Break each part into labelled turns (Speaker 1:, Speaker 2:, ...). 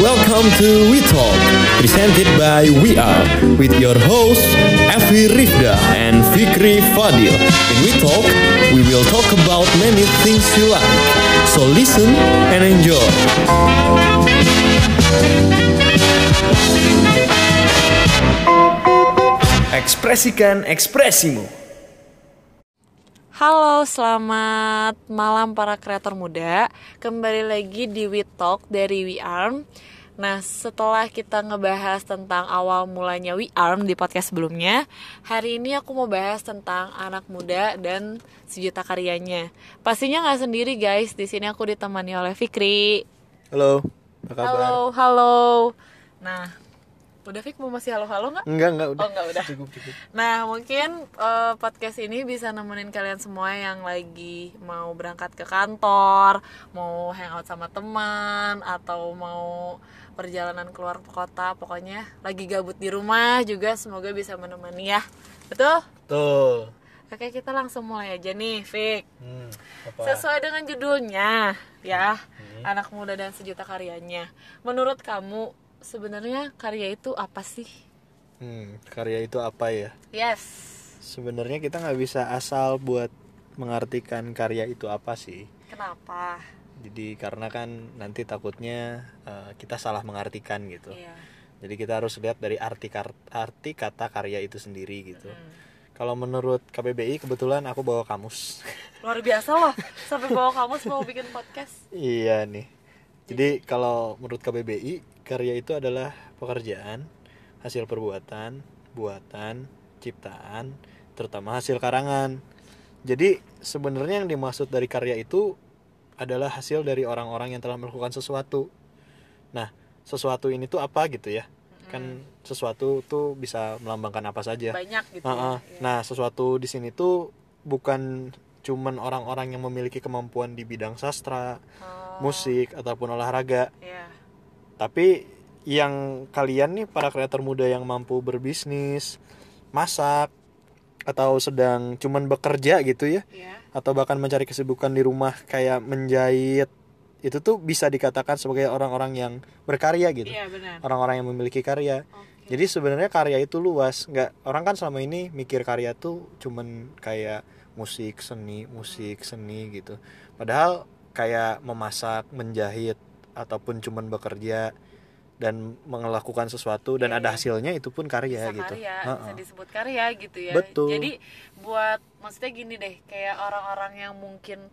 Speaker 1: Welcome to We Talk, presented by We Are, with your hosts Evi Rifda and Fikri Fadil. In We Talk, we will talk about many things you like. So listen and enjoy. Ekspresikan ekspresimu.
Speaker 2: Halo, selamat malam para kreator muda. Kembali lagi di We Talk dari We Arm. Nah, setelah kita ngebahas tentang awal mulanya We Arm di podcast sebelumnya, hari ini aku mau bahas tentang anak muda dan sejuta karyanya. Pastinya nggak sendiri guys, di sini aku ditemani oleh Fikri.
Speaker 3: Halo, apa kabar?
Speaker 2: Halo, halo. Nah, udah Fik mau masih halo-halo nggak?
Speaker 3: Enggak, enggak udah.
Speaker 2: Oh, enggak, udah.
Speaker 3: Cukup, cukup.
Speaker 2: Nah, mungkin eh, podcast ini bisa nemenin kalian semua yang lagi mau berangkat ke kantor, mau hangout sama teman, atau mau perjalanan keluar kota. Pokoknya lagi gabut di rumah juga semoga bisa menemani ya. Betul?
Speaker 3: Tuh.
Speaker 2: Oke, kita langsung mulai aja nih, Fik.
Speaker 3: Hmm, apa?
Speaker 2: Sesuai dengan judulnya, ya.
Speaker 3: Hmm.
Speaker 2: Anak muda dan sejuta karyanya. Menurut kamu sebenarnya karya itu apa sih?
Speaker 3: Hmm, karya itu apa ya?
Speaker 2: Yes.
Speaker 3: Sebenarnya kita nggak bisa asal buat mengartikan karya itu apa sih.
Speaker 2: Kenapa?
Speaker 3: Jadi karena kan nanti takutnya eh, kita salah mengartikan gitu.
Speaker 2: Iya.
Speaker 3: Jadi kita harus lihat dari arti kar- arti kata karya itu sendiri gitu. Kalau menurut KBBI kebetulan aku bawa kamus.
Speaker 2: Luar biasa loh, sampai bawa kamus mau bikin podcast.
Speaker 3: Iya nih. Jadi kalau menurut KBBI, karya itu adalah pekerjaan, hasil perbuatan, buatan, ciptaan, terutama hasil karangan. Jadi sebenarnya yang dimaksud dari karya itu adalah hasil dari orang-orang yang telah melakukan sesuatu. Nah, sesuatu ini tuh apa gitu ya? Kan sesuatu tuh bisa melambangkan apa saja.
Speaker 2: Banyak gitu.
Speaker 3: Heeh.
Speaker 2: ya.
Speaker 3: Nah, sesuatu di sini tuh bukan cuman orang-orang yang memiliki kemampuan di bidang sastra,
Speaker 2: Oh,
Speaker 3: musik ataupun olahraga,
Speaker 2: Iya.
Speaker 3: tapi yang kalian nih para kreator muda yang mampu berbisnis, masak atau sedang cuman bekerja gitu ya
Speaker 2: Iya.
Speaker 3: atau bahkan mencari kesibukan di rumah kayak menjahit itu tuh bisa dikatakan sebagai orang-orang yang berkarya gitu.
Speaker 2: Iya benar.
Speaker 3: Orang-orang yang memiliki karya.
Speaker 2: Oke.
Speaker 3: Jadi sebenarnya karya itu luas, nggak orang kan selama ini mikir karya tuh cuman kayak musik seni, musik seni gitu. Padahal kayak memasak, menjahit ataupun cuman bekerja dan melakukan sesuatu dan
Speaker 2: Iya,
Speaker 3: ada
Speaker 2: iya.
Speaker 3: hasilnya itu pun karya
Speaker 2: bisa
Speaker 3: gitu.
Speaker 2: karya, bisa
Speaker 3: Heeh.
Speaker 2: disebut karya gitu ya.
Speaker 3: Betul.
Speaker 2: Jadi buat maksudnya gini deh, kayak orang-orang yang mungkin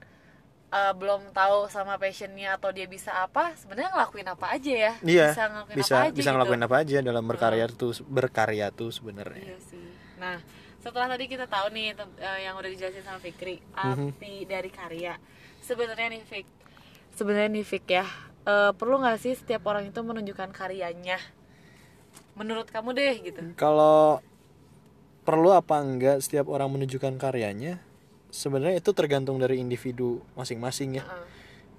Speaker 2: eh, belum tahu sama passionnya atau dia bisa apa, sebenarnya ngelakuin apa aja ya.
Speaker 3: Iya,
Speaker 2: Bisa ngelakuin apa
Speaker 3: Bisa
Speaker 2: aja
Speaker 3: bisa
Speaker 2: gitu.
Speaker 3: ngelakuin apa aja dalam berkarya tuh berkarya tuh sebenarnya.
Speaker 2: Iya sih. Nah, setelah tadi kita tahu nih tem- eh, yang udah dijelasin sama Fikri,
Speaker 3: Mhm.
Speaker 2: arti dari karya. Sebenarnya nih Fik, sebenarnya nih Fik ya, eh, perlu nggak sih setiap orang itu menunjukkan karyanya? Menurut kamu deh gitu.
Speaker 3: Hmm. Kalau perlu apa enggak setiap orang menunjukkan karyanya? Sebenarnya itu tergantung dari individu masing-masing ya.
Speaker 2: Heeh.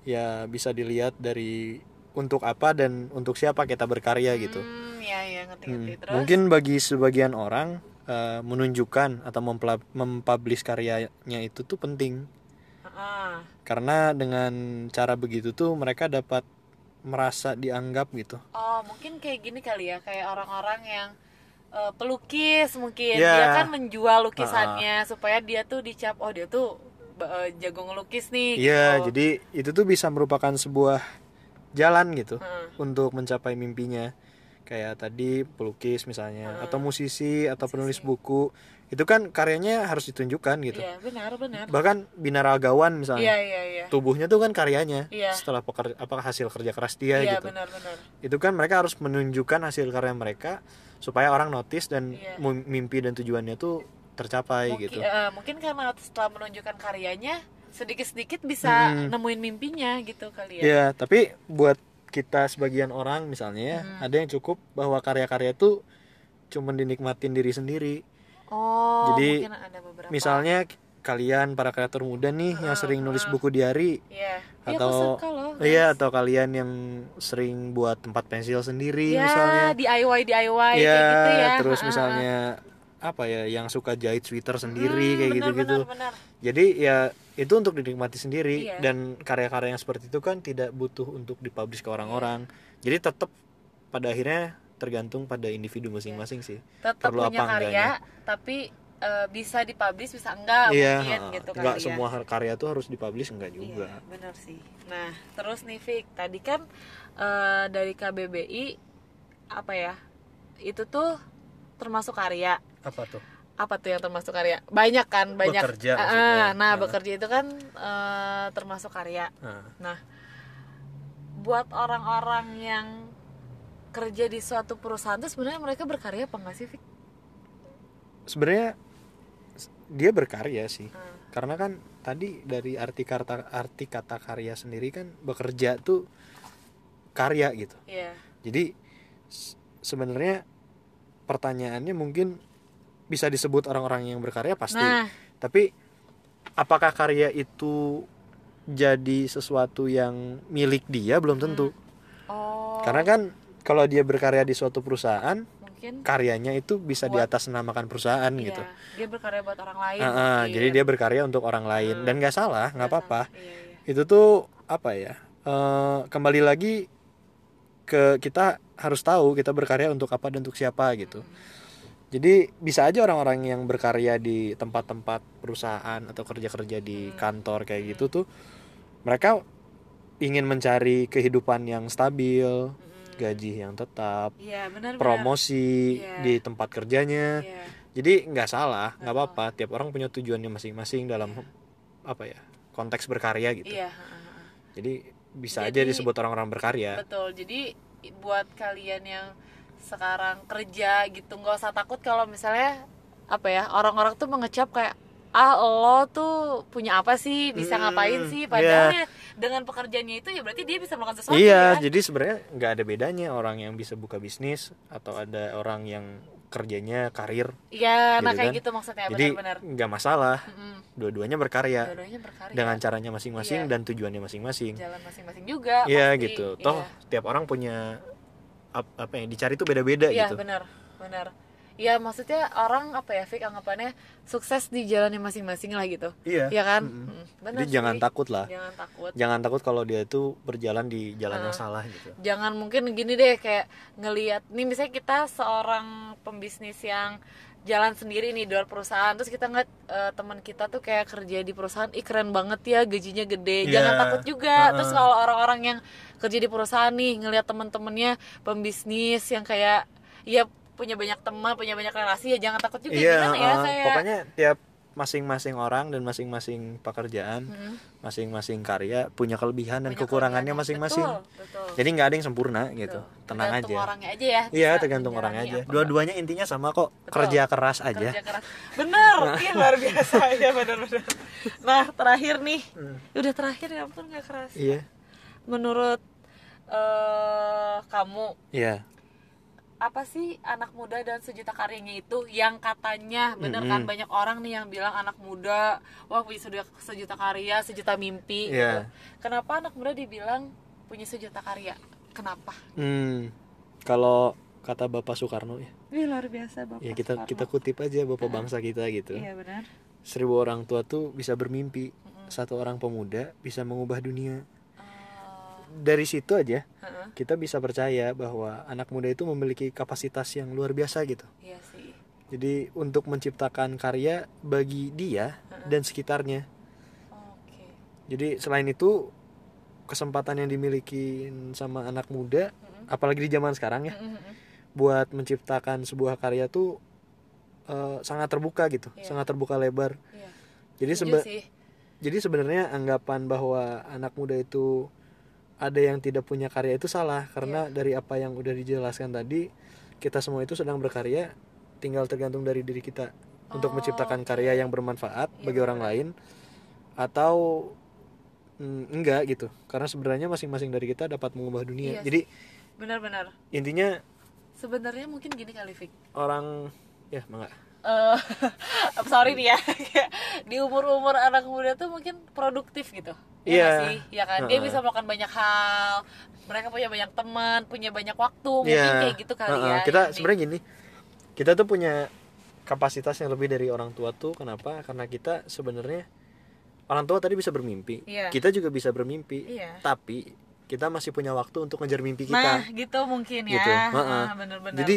Speaker 3: ya bisa dilihat dari untuk apa dan untuk siapa kita berkarya gitu.
Speaker 2: Hmm, ya ya ngerti-ngerti
Speaker 3: Hmm.
Speaker 2: terus.
Speaker 3: Mungkin bagi sebagian orang eh, menunjukkan atau mempla- mempublish karyanya itu tuh penting
Speaker 2: Heeh.
Speaker 3: karena dengan cara begitu tuh mereka dapat merasa dianggap gitu.
Speaker 2: Oh, mungkin kayak gini kali ya, kayak orang-orang yang eh, pelukis mungkin
Speaker 3: Ya.
Speaker 2: dia kan menjual lukisannya supaya dia tuh dicap oh dia tuh eh, jago ngelukis nih
Speaker 3: Iya,
Speaker 2: gitu.
Speaker 3: jadi itu tuh bisa merupakan sebuah jalan gitu
Speaker 2: Heeh.
Speaker 3: untuk mencapai mimpinya. Kayak tadi pelukis misalnya atau musisi atau penulis buku, itu kan karyanya harus ditunjukkan gitu.
Speaker 2: Iya, benar benar.
Speaker 3: bahkan binaragawan
Speaker 2: Iya
Speaker 3: misalnya
Speaker 2: iya iya.
Speaker 3: tubuhnya tuh kan karyanya
Speaker 2: Iya.
Speaker 3: setelah peker- apa hasil kerja keras dia
Speaker 2: Iya
Speaker 3: gitu
Speaker 2: benar-benar.
Speaker 3: itu kan mereka harus menunjukkan hasil karya mereka supaya orang notice dan
Speaker 2: Iya.
Speaker 3: mu- mimpi dan tujuannya tuh tercapai
Speaker 2: Mungkin,
Speaker 3: gitu
Speaker 2: eh, mungkin karena setelah menunjukkan karyanya sedikit-sedikit bisa
Speaker 3: Mm.
Speaker 2: nemuin mimpinya gitu kali ya.
Speaker 3: ya tapi buat kita sebagian orang misalnya ya,
Speaker 2: Hmm.
Speaker 3: ada yang cukup bahwa karya-karya tuh cuman dinikmatin diri sendiri
Speaker 2: Oh,
Speaker 3: Jadi,
Speaker 2: mungkin ada beberapa.
Speaker 3: misalnya k- kalian para kreator muda nih yang sering nulis buku diary
Speaker 2: Iya. Ah, Iya, aku
Speaker 3: atau
Speaker 2: suka loh.
Speaker 3: iya atau kalian yang sering buat tempat pensil sendiri
Speaker 2: Ya,
Speaker 3: misalnya
Speaker 2: DIY DIY
Speaker 3: Iya,
Speaker 2: kayak gitu ya.
Speaker 3: terus
Speaker 2: Ha-ha.
Speaker 3: misalnya apa ya yang suka jahit sweater
Speaker 2: Hmm,
Speaker 3: sendiri kayak
Speaker 2: benar,
Speaker 3: gitu-gitu.
Speaker 2: benar, benar.
Speaker 3: Jadi ya itu untuk dinikmati sendiri
Speaker 2: Iya. Iya.
Speaker 3: dan karya-karya yang seperti itu kan tidak butuh untuk dipublish ke orang-orang. Jadi tetap pada akhirnya tergantung pada individu masing-masing
Speaker 2: Iya.
Speaker 3: sih.
Speaker 2: tetap
Speaker 3: Perlu
Speaker 2: punya
Speaker 3: apa
Speaker 2: karya tapi eh, bisa dipublish bisa enggak
Speaker 3: Iya,
Speaker 2: mungkin
Speaker 3: heeh.
Speaker 2: gitu kan
Speaker 3: nggak
Speaker 2: ya.
Speaker 3: semua har- karya tuh harus dipublish enggak juga.
Speaker 2: Iya, benar sih. Nah, terus nih Fik, tadi kan eh, dari KBBI apa ya? Itu tuh termasuk karya.
Speaker 4: apa tuh
Speaker 2: Apa tuh yang termasuk karya? Banyak kan, banyak.
Speaker 4: Bekerja
Speaker 2: Ah,
Speaker 4: maksudnya.
Speaker 2: ah, nah,
Speaker 4: Ah.
Speaker 2: bekerja itu kan eh, termasuk karya.
Speaker 4: Nah,
Speaker 2: Nah, buat orang-orang yang kerja di suatu perusahaan tuh sebenarnya mereka berkarya apa enggak sih, Fik?
Speaker 3: Sebenarnya s- dia berkarya sih. Karena kan tadi dari arti kata arti kata karya sendiri kan bekerja tuh karya gitu.
Speaker 2: Iya.
Speaker 3: Jadi s- sebenarnya pertanyaannya mungkin bisa disebut orang-orang yang berkarya pasti.
Speaker 2: Nah,
Speaker 3: Tapi apakah karya itu jadi sesuatu yang milik dia belum tentu.
Speaker 2: oh,
Speaker 3: Karena kan kalau dia berkarya di suatu perusahaan,
Speaker 2: mungkin
Speaker 3: karyanya itu bisa
Speaker 2: Buat-
Speaker 3: diatasnamakan perusahaan gitu.
Speaker 2: iya, dia berkarya buat orang lain. Iya,
Speaker 3: Ah, ah,
Speaker 2: mungkin.
Speaker 3: jadi dia berkarya untuk orang
Speaker 2: Hmm.
Speaker 3: lain dan nggak salah, nggak apa-apa.
Speaker 2: Iya, iya.
Speaker 3: Itu tuh apa ya? eh, kembali lagi ke kita harus tahu kita berkarya untuk apa dan untuk siapa gitu. Jadi bisa aja orang-orang yang berkarya di tempat-tempat perusahaan atau
Speaker 2: Hmm.
Speaker 3: kerja-kerja di kantor kayak gitu tuh mereka ingin mencari kehidupan yang
Speaker 2: Hmm.
Speaker 3: stabil, gaji yang tetap,
Speaker 2: Iya benar. benar.
Speaker 3: promosi
Speaker 2: Iya.
Speaker 3: di tempat kerjanya.
Speaker 2: Iya.
Speaker 3: Jadi nggak salah, nggak apa-apa. Tiap orang punya tujuannya masing-masing dalam apa ya konteks berkarya gitu.
Speaker 2: Iya. heeh, heeh.
Speaker 3: Jadi bisa aja
Speaker 2: Jadi-
Speaker 3: disebut orang-orang berkarya.
Speaker 2: Betul. Jadi i- buat kalian yang sekarang kerja gitu nggak usah takut kalau misalnya apa ya orang-orang tuh mengecap kayak ah lo tuh punya apa sih bisa
Speaker 3: Mm,
Speaker 2: ngapain sih padahal ya dengan pekerjaannya itu ya berarti dia bisa melakukan sesuatu
Speaker 3: iya,
Speaker 2: ya.
Speaker 3: jadi sebenarnya nggak ada bedanya orang yang bisa buka bisnis atau ada orang yang kerjanya karir.
Speaker 2: Iya, nah
Speaker 3: gitu
Speaker 2: kayak
Speaker 3: kan.
Speaker 2: gitu maksudnya
Speaker 3: Jadi iya,
Speaker 2: benar-benar.
Speaker 3: nggak masalah,
Speaker 2: Mm-mm.
Speaker 3: dua-duanya berkarya
Speaker 2: Dua-duanya berkarya.
Speaker 3: dengan caranya masing-masing
Speaker 2: Iya.
Speaker 3: dan tujuannya masing-masing.
Speaker 2: jalan masing-masing juga.
Speaker 3: Iya
Speaker 2: pasti.
Speaker 3: gitu.
Speaker 2: Iya.
Speaker 3: Toh tiap orang punya ap- apa yang dicari tuh beda-beda
Speaker 2: Iya
Speaker 3: gitu.
Speaker 2: benar, benar. Ya maksudnya orang apa ya Fik anggapannya sukses di jalannya masing-masing lah gitu.
Speaker 3: Iya.
Speaker 2: Iya kan?
Speaker 3: Mm-mm.
Speaker 2: Mm, benar
Speaker 3: Jadi
Speaker 2: sih. Iya,
Speaker 3: jangan takut lah.
Speaker 2: Jangan takut.
Speaker 3: jangan takut kalau dia itu berjalan di jalan
Speaker 2: Ah.
Speaker 3: yang salah gitu.
Speaker 2: Jangan mungkin gini deh kayak ngelihat nih misalnya kita seorang pembisnis yang jalan sendiri nih di luar perusahaan terus kita ngeliat eh, teman kita tuh kayak kerja di perusahaan ih keren banget ya gajinya gede jangan
Speaker 4: Iya.
Speaker 2: takut juga terus kalau orang-orang yang kerja di perusahaan nih ngelihat teman-temannya pembisnis yang kayak ya punya banyak teman punya banyak relasi ya jangan takut juga
Speaker 3: Iya,
Speaker 2: gimana ya
Speaker 3: uh,
Speaker 2: kayak
Speaker 3: pokoknya tiap masing-masing orang dan masing-masing pekerjaan, masing-masing karya punya kelebihan
Speaker 2: Hmm.
Speaker 3: dan
Speaker 2: punya
Speaker 3: kekurangannya
Speaker 2: kelebihan.
Speaker 3: masing-masing.
Speaker 2: Betul, betul.
Speaker 3: Jadi nggak ada yang sempurna gitu. Tenang
Speaker 2: tergantung
Speaker 3: aja.
Speaker 2: orangnya aja ya
Speaker 3: Iya,
Speaker 2: bisa
Speaker 3: tergantung
Speaker 2: menjalani
Speaker 3: orangnya aja.
Speaker 2: apa
Speaker 3: Dua-duanya intinya sama kok,
Speaker 2: ya. Betul.
Speaker 3: kerja keras aja. Nah.
Speaker 2: kerja keras bener iya luar biasa ya bener-bener nah terakhir nih udah terakhir ya ampun gak keras
Speaker 3: Hmm. Iya.
Speaker 2: menurut eh kamu
Speaker 3: Iya.
Speaker 2: apa sih anak muda dan sejuta karyanya itu yang katanya bener kan
Speaker 3: Mm-mm.
Speaker 2: banyak orang nih yang bilang anak muda wah punya sejuta, sejuta karya sejuta mimpi gitu.
Speaker 3: Iya.
Speaker 2: kenapa anak muda dibilang punya sejuta karya kenapa
Speaker 3: Hmm. Kalau kata Bapak Soekarno ya,
Speaker 2: Wih, Iya, luar biasa bapak
Speaker 3: ya kita kita kutip aja Bapak bangsa kita gitu.
Speaker 2: Hmm. iya benar
Speaker 3: Seribu orang tua tuh bisa bermimpi, satu orang pemuda bisa mengubah dunia. Dari situ aja
Speaker 2: Oh. Heeh.
Speaker 3: kita bisa percaya bahwa anak muda itu memiliki kapasitas yang luar biasa gitu.
Speaker 2: iya sih
Speaker 3: Jadi untuk menciptakan karya bagi dia dan sekitarnya.
Speaker 2: oke
Speaker 3: Jadi selain itu kesempatan yang dimiliki sama anak muda, apalagi di zaman sekarang ya,
Speaker 2: Mm-mm.
Speaker 3: buat menciptakan sebuah karya tuh eh, sangat terbuka gitu,
Speaker 2: Iya.
Speaker 3: sangat terbuka lebar.
Speaker 2: Iya.
Speaker 3: Jadi
Speaker 2: Setuju
Speaker 3: sebe-
Speaker 2: sih.
Speaker 3: jadi sebenarnya anggapan bahwa anak muda itu ada yang tidak punya karya itu salah karena dari apa yang udah dijelaskan tadi kita semua itu sedang berkarya tinggal tergantung dari diri kita untuk menciptakan karya yang bermanfaat bagi orang lain atau mm, enggak gitu karena sebenarnya masing-masing dari kita dapat mengubah dunia
Speaker 2: Iya sih.
Speaker 3: jadi
Speaker 2: benar-benar
Speaker 3: intinya
Speaker 2: sebenarnya mungkin gini kali Fik
Speaker 3: orang ya enggak
Speaker 2: Eh, sorry nih ya Kayak di umur umur anak muda tuh mungkin produktif gitu Iya
Speaker 3: Iya.
Speaker 2: nggak sih ya kan dia
Speaker 3: Heeh.
Speaker 2: bisa melakukan banyak hal mereka punya banyak teman punya banyak waktu mungkin
Speaker 3: Iya.
Speaker 2: kayak gitu kali
Speaker 3: Heeh,
Speaker 2: ya
Speaker 3: Kita
Speaker 2: Ini.
Speaker 3: sebenarnya gitu gini, kita tuh punya kapasitas yang lebih dari orang tua tuh kenapa? Karena kita sebenarnya orang tua tadi bisa bermimpi,
Speaker 2: Iya.
Speaker 3: kita juga bisa bermimpi,
Speaker 2: Iya.
Speaker 3: tapi kita masih punya waktu untuk ngejar mimpi kita
Speaker 2: Nah, gitu mungkin ya.
Speaker 3: gitu. Heeh.
Speaker 2: Ah, Bener-bener.
Speaker 3: Jadi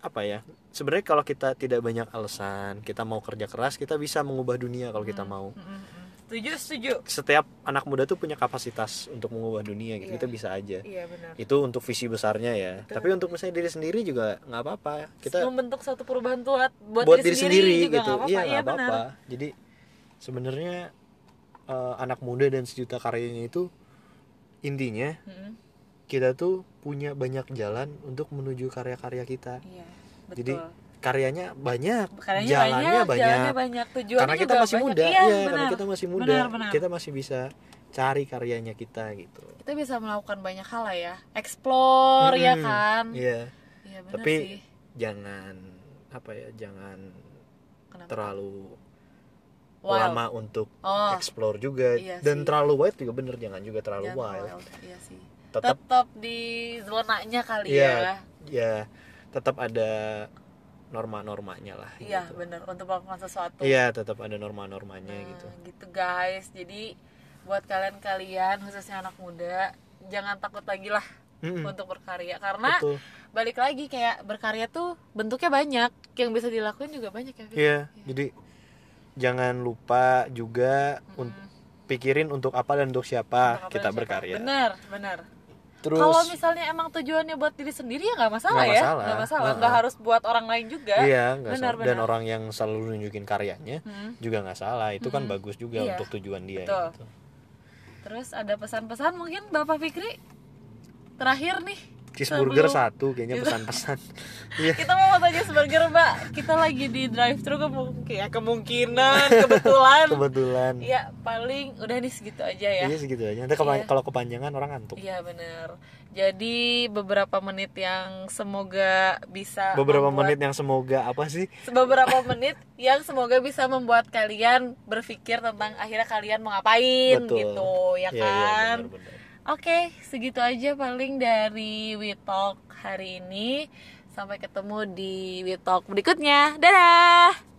Speaker 3: apa ya? Sebenarnya kalau kita tidak banyak alasan, kita mau kerja keras, kita bisa mengubah dunia kalau
Speaker 2: Hmm,
Speaker 3: kita mau.
Speaker 2: Mm-mm. setuju, setuju.
Speaker 3: Setiap anak muda tuh punya kapasitas untuk mengubah dunia gitu. Kita bisa aja.
Speaker 2: Iya benar.
Speaker 3: Itu untuk visi besarnya ya. Tapi untuk misalnya diri sendiri juga nggak apa-apa. Kita
Speaker 2: Membentuk suatu perubahan tuh buat, buat,
Speaker 3: buat diri sendiri,
Speaker 2: juga
Speaker 3: gitu.
Speaker 2: nggak apa-apa.
Speaker 3: Iya,
Speaker 2: Iya,
Speaker 3: nggak
Speaker 2: benar.
Speaker 3: apa-apa. Jadi sebenarnya eh, anak muda dan sejuta karyanya itu intinya
Speaker 2: Mm-mm.
Speaker 3: kita tuh punya banyak jalan untuk menuju karya-karya kita.
Speaker 2: Iya, betul.
Speaker 3: Jadi karyanya banyak,
Speaker 2: Karena
Speaker 3: jalannya banyak,
Speaker 2: jalannya banyak, tujuannya
Speaker 3: karena kita
Speaker 2: juga
Speaker 3: masih
Speaker 2: banyak.
Speaker 3: muda,
Speaker 2: Iya,
Speaker 3: iya, karena
Speaker 2: benar.
Speaker 3: kita masih muda,
Speaker 2: Benar, benar.
Speaker 3: kita masih bisa cari karyanya kita gitu.
Speaker 2: Kita bisa melakukan banyak hal lah ya. Explore ya
Speaker 3: Hmm,
Speaker 2: kan.
Speaker 3: Iya,
Speaker 2: Iya, benar
Speaker 3: tapi
Speaker 2: sih.
Speaker 3: jangan apa ya, jangan
Speaker 2: Kenapa?
Speaker 3: terlalu
Speaker 2: Wild.
Speaker 3: lama untuk
Speaker 2: Oh.
Speaker 3: explore juga
Speaker 2: Iya sih.
Speaker 3: dan terlalu wide juga bener, jangan juga terlalu
Speaker 2: Jangan
Speaker 3: wild.
Speaker 2: wild. Iya sih.
Speaker 3: Tetap
Speaker 2: Tetap di zonanya kali
Speaker 3: Iya,
Speaker 2: ya.
Speaker 3: ya tetap ada norma-normanya lah
Speaker 2: Iya
Speaker 3: gitu.
Speaker 2: benar untuk melakukan sesuatu.
Speaker 3: Iya, tetap ada norma-normanya
Speaker 2: Nah,
Speaker 3: gitu.
Speaker 2: gitu guys. Jadi buat kalian-kalian khususnya anak muda jangan takut lagi lah
Speaker 3: Mm-mm,
Speaker 2: untuk berkarya karena
Speaker 3: Betul.
Speaker 2: balik lagi kayak berkarya tuh bentuknya banyak yang bisa dilakuin juga banyak ya. Fit?
Speaker 3: Iya, jadi jangan lupa juga un- pikirin untuk apa dan untuk
Speaker 2: Untuk
Speaker 3: siapa
Speaker 2: apa
Speaker 3: kita
Speaker 2: dan siapa.
Speaker 3: berkarya.
Speaker 2: Benar, benar.
Speaker 3: Terus
Speaker 2: Kalau misalnya emang tujuannya buat diri sendiri ya nggak masalah,
Speaker 3: Nggak
Speaker 2: ya,
Speaker 3: masalah.
Speaker 2: nggak masalah,
Speaker 3: Heeh.
Speaker 2: nggak harus buat orang lain juga.
Speaker 3: iya, nggak
Speaker 2: Benar,
Speaker 3: salah. Dan
Speaker 2: benar.
Speaker 3: orang yang selalu nunjukin karyanya
Speaker 2: Hmm.
Speaker 3: juga nggak salah. Itu kan bagus juga
Speaker 2: Iya.
Speaker 3: untuk tujuan dia.
Speaker 2: Betul.
Speaker 3: Gitu.
Speaker 2: Terus ada pesan-pesan mungkin Bapak Fikri terakhir nih.
Speaker 3: Cheeseburger
Speaker 2: sebelum-
Speaker 3: satu kayaknya
Speaker 2: Gitu.
Speaker 3: pesan-pesan. Iya.
Speaker 2: Kita mau tanya cheeseburger Mbak. Kita lagi di drive thru kemungkinan, ya, kemungkinan kebetulan.
Speaker 3: Kebetulan.
Speaker 2: Iya paling udah nih segitu aja ya.
Speaker 3: Iya segitu aja. Nanti kepa-
Speaker 2: Iya.
Speaker 3: kalau kepanjangan orang ngantuk.
Speaker 2: Iya benar. Jadi beberapa menit yang semoga bisa
Speaker 3: Beberapa
Speaker 2: membuat-
Speaker 3: menit yang semoga apa sih?
Speaker 2: beberapa menit yang semoga bisa membuat kalian berpikir tentang akhirnya kalian mau ngapain
Speaker 3: Betul.
Speaker 2: gitu ya
Speaker 3: Iya, iya,
Speaker 2: kan.
Speaker 3: benar-benar.
Speaker 2: Oke, segitu aja paling dari We Talk hari ini. Sampai ketemu di We Talk berikutnya. Dadah.